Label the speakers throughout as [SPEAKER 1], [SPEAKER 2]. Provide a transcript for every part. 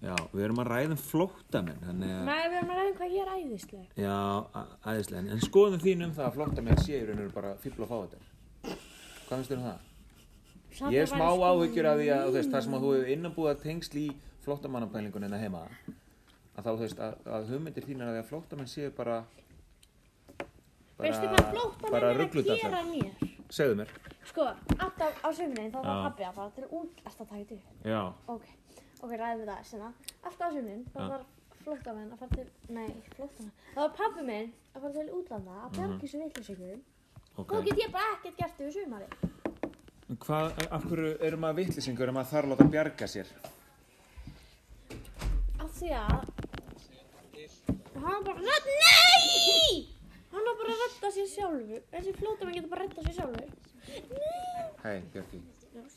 [SPEAKER 1] við erum að ræða um flóttamenn þannig að
[SPEAKER 2] Nei, við erum að ræða um hvað ég er æðisleg.
[SPEAKER 1] Já, a- æðislega, en- en skoðum þín um það að flóttamenn sé í raun og veru bara fíbl og fáðar. Hvað finnst þér um það?
[SPEAKER 2] Samt
[SPEAKER 1] Ég er
[SPEAKER 2] að
[SPEAKER 1] smá
[SPEAKER 2] væri sko-
[SPEAKER 1] áhyggjur af því að þú veist, þar sem að þú hefur innanbúðað tengsl í flóttamannapælingunina heima að þá þú veist að, að hugmyndir þínar að því að flóttamenn séu bara
[SPEAKER 2] Veistu hvað flóttamenn
[SPEAKER 1] bara
[SPEAKER 2] er að
[SPEAKER 1] rugludallar.
[SPEAKER 2] gera mér?
[SPEAKER 1] Segðu mér
[SPEAKER 2] Sko, alltaf á sömurinn þá var
[SPEAKER 1] Já.
[SPEAKER 2] pabbi að fara til útlast að taka þetta upp.
[SPEAKER 1] Já,
[SPEAKER 2] Ok, ok, ræðum við það sinna. Alltaf á sömurinn þá
[SPEAKER 1] Já.
[SPEAKER 2] var flóttamenn að fara til, nei, ekki flóttamenn. Það var pabbi minn að fara til útlanda að bjarga þessu vittlisökurum.
[SPEAKER 1] Mhm. ok
[SPEAKER 2] Þá get ég bara ekkert gert yfir sömari.
[SPEAKER 1] En Hvað, af hverju erum maður vittlisingur um að þarf að láta bjarga sér?
[SPEAKER 2] Af því að hann var bara að redda, nei! Hann var bara að redda sér sjálfur. Þessi flótamenn getur bara að redda sér sjálfur. Nei!
[SPEAKER 1] Hei, Björki,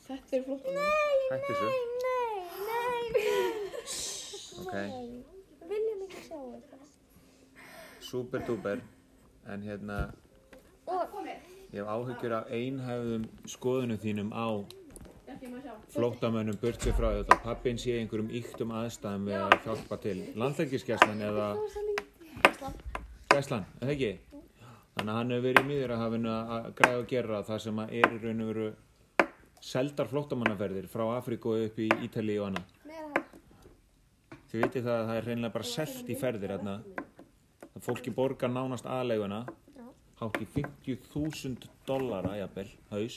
[SPEAKER 3] Þetta er flott.
[SPEAKER 2] Nei,
[SPEAKER 1] Hættu þessu.
[SPEAKER 2] nei, nei, nei, nei.
[SPEAKER 1] Ok.
[SPEAKER 2] Nei, viljum ekki sjá þetta.
[SPEAKER 1] super duper En hérna,
[SPEAKER 2] Og
[SPEAKER 1] ég hef áhyggjur af einhæfðum skoðunum þínum á
[SPEAKER 3] Ekki maður sjá.
[SPEAKER 1] flóttamönnum burt sér frá því að pappin sé í einhverjum yktum aðstæðum við að hjálpa til landlækisgæslan eða
[SPEAKER 2] þú er svo lítið.
[SPEAKER 1] gæslan, er það ekki? Þannig að hann hefur verið í miður að hafinu að græða og gera það sem að er í raun og veru seldar flóttamannaferðir frá Afríku og upp í Ítali og annað.
[SPEAKER 2] Meira hægt.
[SPEAKER 1] Þið vitið það að það er reynilega bara selt í ferðir þarna. Það fólki borgar nánast aðleguna
[SPEAKER 2] Já.
[SPEAKER 1] hátt í 50.000 dollara jafnvel, haus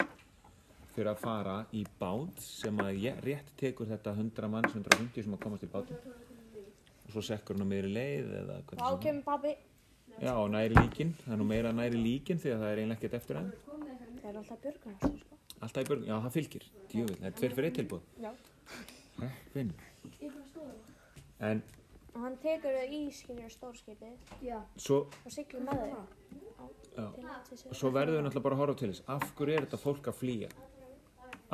[SPEAKER 1] fyrir að fara í bát sem að ég rétt tekur þetta 100 manns, 150 sem að komast í bátum og svo sekkur hún á meiri leið eða
[SPEAKER 2] Þá
[SPEAKER 1] hvernig sem
[SPEAKER 2] kemur pabbi.
[SPEAKER 1] það Já, og næri líkin, það er nú meira næri líkin því að það er eiginlega ekkert eftir enn
[SPEAKER 2] Það er alltaf björgun hans, sko.
[SPEAKER 1] Alltaf í börn, já það fylgir, djöfull, það er tveir fyrir eitt tilbúð
[SPEAKER 2] Já.
[SPEAKER 1] Heppin En
[SPEAKER 2] Og hann tekur þau í, skiljur, stórskipið
[SPEAKER 3] Já.
[SPEAKER 1] svo
[SPEAKER 2] og siglir með þau.
[SPEAKER 1] Já.
[SPEAKER 2] til
[SPEAKER 1] Og svo verðum við náttúrulega bara að horfa til þess. Af hverju er þetta fólk að flýja?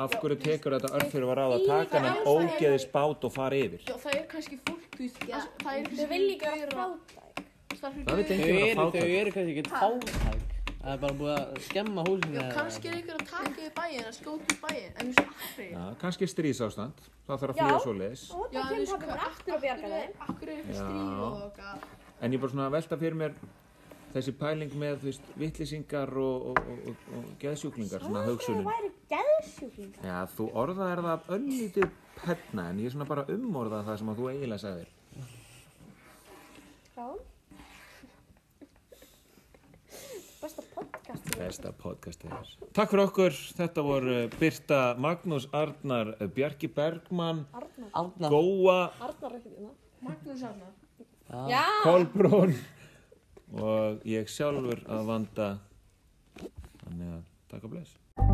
[SPEAKER 1] Af hverju tekur þetta örfyrir var á að taka hann ógeðis bát og fara yfir?
[SPEAKER 3] Já, það er kannski fólk, þú veist, það- það er
[SPEAKER 2] Þau vilja ekki vera fátæk.
[SPEAKER 3] Það
[SPEAKER 1] Það
[SPEAKER 3] er
[SPEAKER 1] veit
[SPEAKER 4] Þau
[SPEAKER 1] enginn að
[SPEAKER 4] eru,
[SPEAKER 1] fáta.
[SPEAKER 4] þau eru kannski ekki fátæk. Það er bara búið að skemma húsinu.
[SPEAKER 3] Já,
[SPEAKER 4] eða-
[SPEAKER 3] kannski er ykkur að taka í bæin, að skjóta í bæin, en eins og Afríku.
[SPEAKER 1] Já, kannski stríðsástand. Það þarf að
[SPEAKER 2] Já.
[SPEAKER 1] flýja svo leiðis.
[SPEAKER 2] Og
[SPEAKER 3] Já,
[SPEAKER 2] þá
[SPEAKER 3] en
[SPEAKER 2] kemur
[SPEAKER 3] eins og
[SPEAKER 2] pabbi bara aftur að bjarga þeim.
[SPEAKER 3] Akkur er
[SPEAKER 1] Já.
[SPEAKER 3] eitthvað stríð og okkar.
[SPEAKER 1] En ég er bara svona að velta fyrir mér þessi pæling með, þú veist, vittlisingar og, og, og, og, og geðsjúklingar, svona
[SPEAKER 2] Það
[SPEAKER 1] hugsunin.
[SPEAKER 2] væri geðsjúklingar.
[SPEAKER 1] Já, þú orðaðir það öllítið penna, en ég er svona bara umorðað það sem að þú eiginlega sagðir.
[SPEAKER 2] Já. Besta podcast.
[SPEAKER 1] Besta podcastið þér. Takk fyrir okkur. Þetta voru Birta Magnús Arnar Bjarki Bergmann,
[SPEAKER 2] Arnar.
[SPEAKER 4] Arnar.
[SPEAKER 1] Góa
[SPEAKER 2] Arnar er hérna. ekkert innan.
[SPEAKER 3] Magnús Arnar.
[SPEAKER 2] Já.
[SPEAKER 1] Kolbrún og ég sjálfur að vanda þannig að takk og bless